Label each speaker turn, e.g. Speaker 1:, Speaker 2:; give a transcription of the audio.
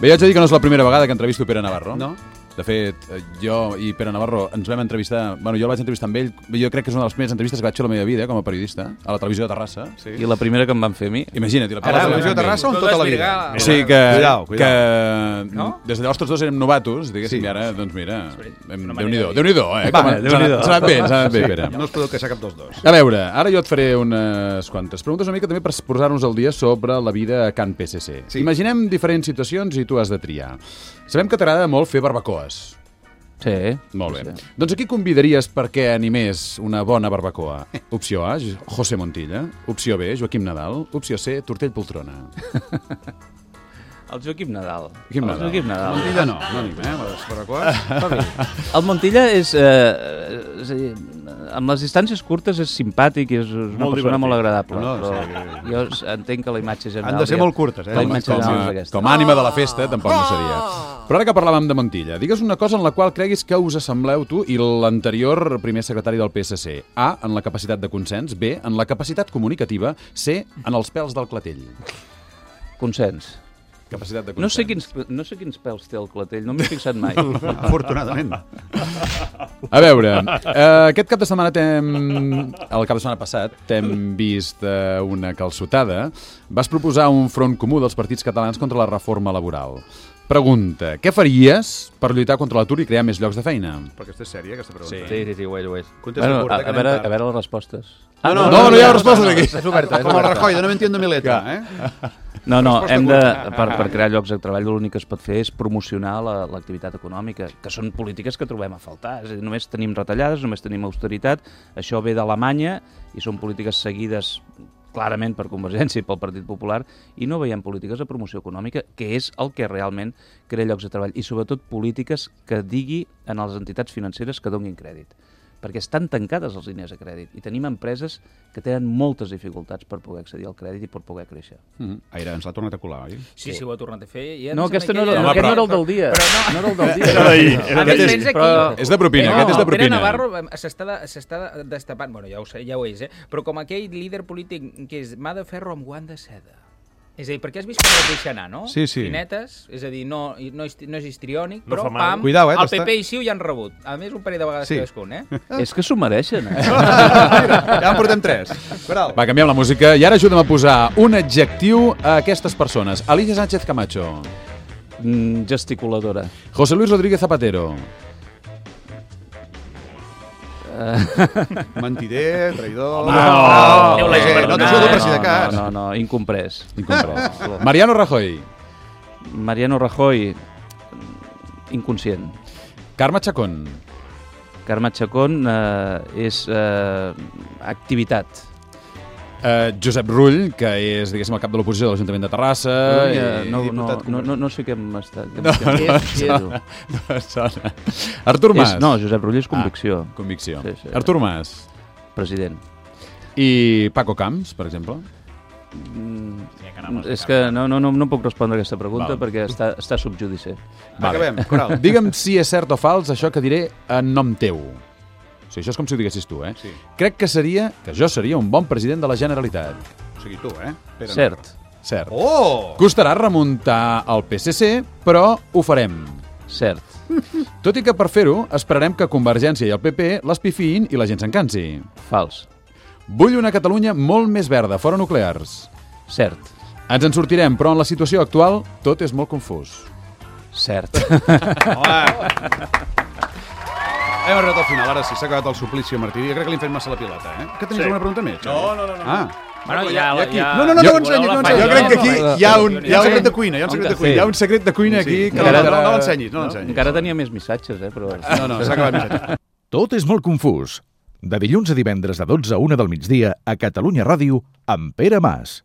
Speaker 1: Bé, ja haig de dir que no és la primera vegada que entrevisto Pere Navarro. No? De fet, eh, jo i Pere Navarro ens vam entrevistar... Bueno, jo el vaig entrevistar amb ell. Jo crec que és una de les primeres entrevistes que vaig fer a la meva vida com a periodista, a la televisió de Terrassa. Sí.
Speaker 2: I la primera que em van fer a mi...
Speaker 1: Imagina't, i la
Speaker 3: A la
Speaker 1: vaig
Speaker 3: televisió de
Speaker 1: amb ell.
Speaker 3: Terrassa o en
Speaker 4: Tot
Speaker 3: tota la vida?
Speaker 4: desvirgar.
Speaker 1: O sigui que,
Speaker 3: Cuidao,
Speaker 1: que
Speaker 3: No?
Speaker 1: des de llavors tots dos érem novatos, diguéssim,
Speaker 3: Sí.
Speaker 1: sí. i ara, doncs mira, hem-
Speaker 4: una manera
Speaker 1: Déu-n'hi-do,
Speaker 4: de
Speaker 1: Déu-n'hi-do, eh? Com a-
Speaker 2: Déu-n'hi-do.
Speaker 1: s'ha anat- s'ha anat bé, s'ha anat bé, Pere.
Speaker 3: No us podeu queixar cap dels dos.
Speaker 1: A veure, ara jo et faré unes quantes preguntes una mica també per posar-nos al dia sobre la vida a Can PCC.
Speaker 3: Sí.
Speaker 1: Sí. Imaginem diferents situacions i tu has de triar. Sabem que t'agrada molt fer barbacoes.
Speaker 2: Sí.
Speaker 1: Molt bé. Doncs aquí convidaries perquè animés una bona barbacoa. Opció A, Jo- José Montilla. Opció B, Joaquim Nadal. Opció C, Tortell Poltrona.
Speaker 2: El Joaquim Nadal.
Speaker 1: Joaquim Nadal.
Speaker 2: El Oh, Joaquim Nadal.
Speaker 1: Montilla no, no anem, eh?
Speaker 2: El Montilla és... Eh, és a dir, amb les distàncies curtes és simpàtic i és, és una
Speaker 4: Molt
Speaker 2: persona
Speaker 4: divertit.
Speaker 2: molt agradable.
Speaker 3: No, no,
Speaker 2: però
Speaker 3: sí.
Speaker 2: Jo s- entenc que la imatge general...
Speaker 3: Han de ser
Speaker 2: ja-
Speaker 3: molt curtes, eh?
Speaker 2: La
Speaker 1: Com,
Speaker 2: imatge
Speaker 1: com,
Speaker 2: general és
Speaker 1: a,
Speaker 2: aquesta.
Speaker 1: com a ànima de la festa, tampoc no seria. Però ara que parlàvem de Montilla, digues una cosa en la qual creguis que us assembleu tu i l'anterior primer secretari del PSC. A, en la capacitat de consens. B, en la capacitat comunicativa. C, en els pèls del clatell.
Speaker 2: Consens.
Speaker 1: Capacitat de consens.
Speaker 2: No sé, quins, no sé quins pèls té el clatell, no m'he fixat mai.
Speaker 3: Afortunadament.
Speaker 1: A veure, eh, aquest cap de setmana t'hem... El cap de setmana passat t'hem vist eh, una calçotada. Vas proposar un front comú dels partits catalans contra la reforma laboral. Pregunta, què faries per lluitar contra l'atur i crear més llocs de feina?
Speaker 3: Perquè aquesta és sèria, aquesta pregunta.
Speaker 4: Sí, sí, sí, ho és, ho és.
Speaker 3: Contesta
Speaker 2: Bueno,
Speaker 3: curta,
Speaker 2: a,
Speaker 3: que
Speaker 2: a,
Speaker 3: anem
Speaker 2: veure,
Speaker 3: tard.
Speaker 2: a veure les respostes.
Speaker 4: Ah,
Speaker 1: no, no, no hi ha respostes aquí.
Speaker 4: És oberta, és
Speaker 3: Com el
Speaker 4: oberta.
Speaker 3: Rajoy, de no me entiendo mileta, eh?
Speaker 2: No, no,
Speaker 3: Resposta
Speaker 2: hem de,
Speaker 3: curta.
Speaker 2: per, per crear llocs de treball l'únic que es pot fer és promocionar la- l'activitat econòmica, que són polítiques que trobem a faltar. És a dir, només tenim retallades, només tenim austeritat, això ve d'Alemanya i són polítiques seguides clarament per Convergència i pel Partit Popular i no veiem polítiques de promoció econòmica, que és el que realment crea llocs de treball i sobretot polítiques que digui en les entitats financeres que donguin crèdit perquè estan tancades els diners a crèdit i tenim empreses que tenen moltes dificultats per poder accedir al crèdit i per poder créixer.
Speaker 1: Ah,
Speaker 3: Aire, ens l'ha tornat a colar, oi?
Speaker 4: Sí, sí, ho ha tornat a fer. I em
Speaker 2: No,
Speaker 4: sembla
Speaker 2: aquesta
Speaker 4: que
Speaker 2: no, era-
Speaker 4: ella-
Speaker 2: no, aquest no era el del dia.
Speaker 4: Però no.
Speaker 2: era el del dia.
Speaker 4: Era
Speaker 5: d'ahir,
Speaker 4: A més, tens aquí...
Speaker 2: Però-
Speaker 1: És de propina,
Speaker 4: Eh,
Speaker 1: aquest és de
Speaker 4: Pere
Speaker 1: propina.
Speaker 4: Navarro em, s'està de- s'està de- destapant, bueno, ja ho, sé, ja ho és, eh? però com aquell líder polític que és mà de ferro amb guant de seda. És a dir, perquè has vist com el deixa anar, no?
Speaker 3: Sí, sí.
Speaker 4: Finetes, és a dir, no, i- no, és, no és histriònic, No
Speaker 5: No
Speaker 4: però
Speaker 5: fa mal.
Speaker 4: pam,
Speaker 3: Cuidao, eh,
Speaker 4: el
Speaker 3: t'està-
Speaker 4: PP i Ciu ja han rebut. A més, un parell de vegades
Speaker 3: Sí.
Speaker 4: sí. cadascun, eh?
Speaker 2: És que s'ho mereixen, eh?
Speaker 3: Ah, Mira, ja en portem tres. Coral.
Speaker 1: Va, canviem la música i ara ajuda'm a posar un adjectiu a aquestes persones. Alicia Sánchez Camacho,
Speaker 2: Mm, gesticuladora.
Speaker 1: José Luis Rodríguez Zapatero,
Speaker 3: Mentider, traïdor...
Speaker 4: no,
Speaker 3: no,
Speaker 4: Déu l'hagi
Speaker 3: no, no t'ajudo per si de cas.
Speaker 2: Ah, No, no, no, incomprès.
Speaker 1: incomprès. Mariano Rajoy,
Speaker 2: Mariano Rajoy, inconscient.
Speaker 1: Carme Chacón,
Speaker 2: Carme Chacón eh, és eh, activitat.
Speaker 1: eh, Josep Rull, que és, diguéssim, el cap de l'oposició de l'Ajuntament de Terrassa.
Speaker 2: Ui,
Speaker 1: i-
Speaker 2: eh, no, no,
Speaker 3: diputat
Speaker 2: no, no, no sé què hem estat. No,
Speaker 1: no, no sona. Artur Mas.
Speaker 2: és, no, Josep Rull és convicció,
Speaker 1: Convicció.
Speaker 2: Sí, sí.
Speaker 1: Artur Mas.
Speaker 2: president.
Speaker 1: I Paco Camps, per exemple.
Speaker 2: És que no, no, no, no puc respondre a aquesta pregunta
Speaker 1: Val.
Speaker 2: perquè està, està subjudice.
Speaker 1: Vale.
Speaker 3: Acabem, Coral.
Speaker 1: Digue'm si és cert o fals això que diré en nom teu. O sigui, això és com si ho diguessis tu, eh?
Speaker 3: Sí.
Speaker 1: Crec que seria que jo seria un bon president de la Generalitat.
Speaker 3: O sigui, tu, eh? Pere
Speaker 2: Cert,
Speaker 1: Cert. Oh.
Speaker 3: Oh!
Speaker 1: Costarà remuntar el PSC, però ho farem.
Speaker 2: cert.
Speaker 1: Tot i que per fer-ho esperarem que Convergència i el PP l'espifiïn i la gent se'n cansi.
Speaker 2: Fals.
Speaker 1: Vull una Catalunya molt més verda, fora nuclears.
Speaker 2: Cert.
Speaker 1: Ens en sortirem, però en la situació actual tot és molt confús.
Speaker 2: Cert.
Speaker 3: Home! Hem arribat al final, ara sí, s'ha acabat el suplici a Martí. Jo crec que li hem fet massa la pilota, eh? Que tenies
Speaker 5: Sí.
Speaker 3: alguna pregunta més? No, no, no. no. Ah.
Speaker 4: Bueno, ja, ja, ja...
Speaker 3: No, no, no, no,
Speaker 1: Jo-
Speaker 3: l'ensenyis, no
Speaker 4: Jo
Speaker 3: l'ensenyis.
Speaker 4: crec que aquí
Speaker 3: hi ha un, hi ha un secret de cuina, hi ha un secret de cuina.
Speaker 1: Hi ha un secret de cuina aquí
Speaker 3: Sí,
Speaker 1: que
Speaker 3: no, no, no,
Speaker 1: l'altre-
Speaker 3: no l'ensenyis, no l'ensenyis.
Speaker 2: Encara tenia més missatges, eh? Però...
Speaker 3: No, no, s'ha acabat missatge.
Speaker 6: Tot és molt confús. De dilluns a divendres de 12 a 1 del migdia a Catalunya Ràdio amb Pere Mas.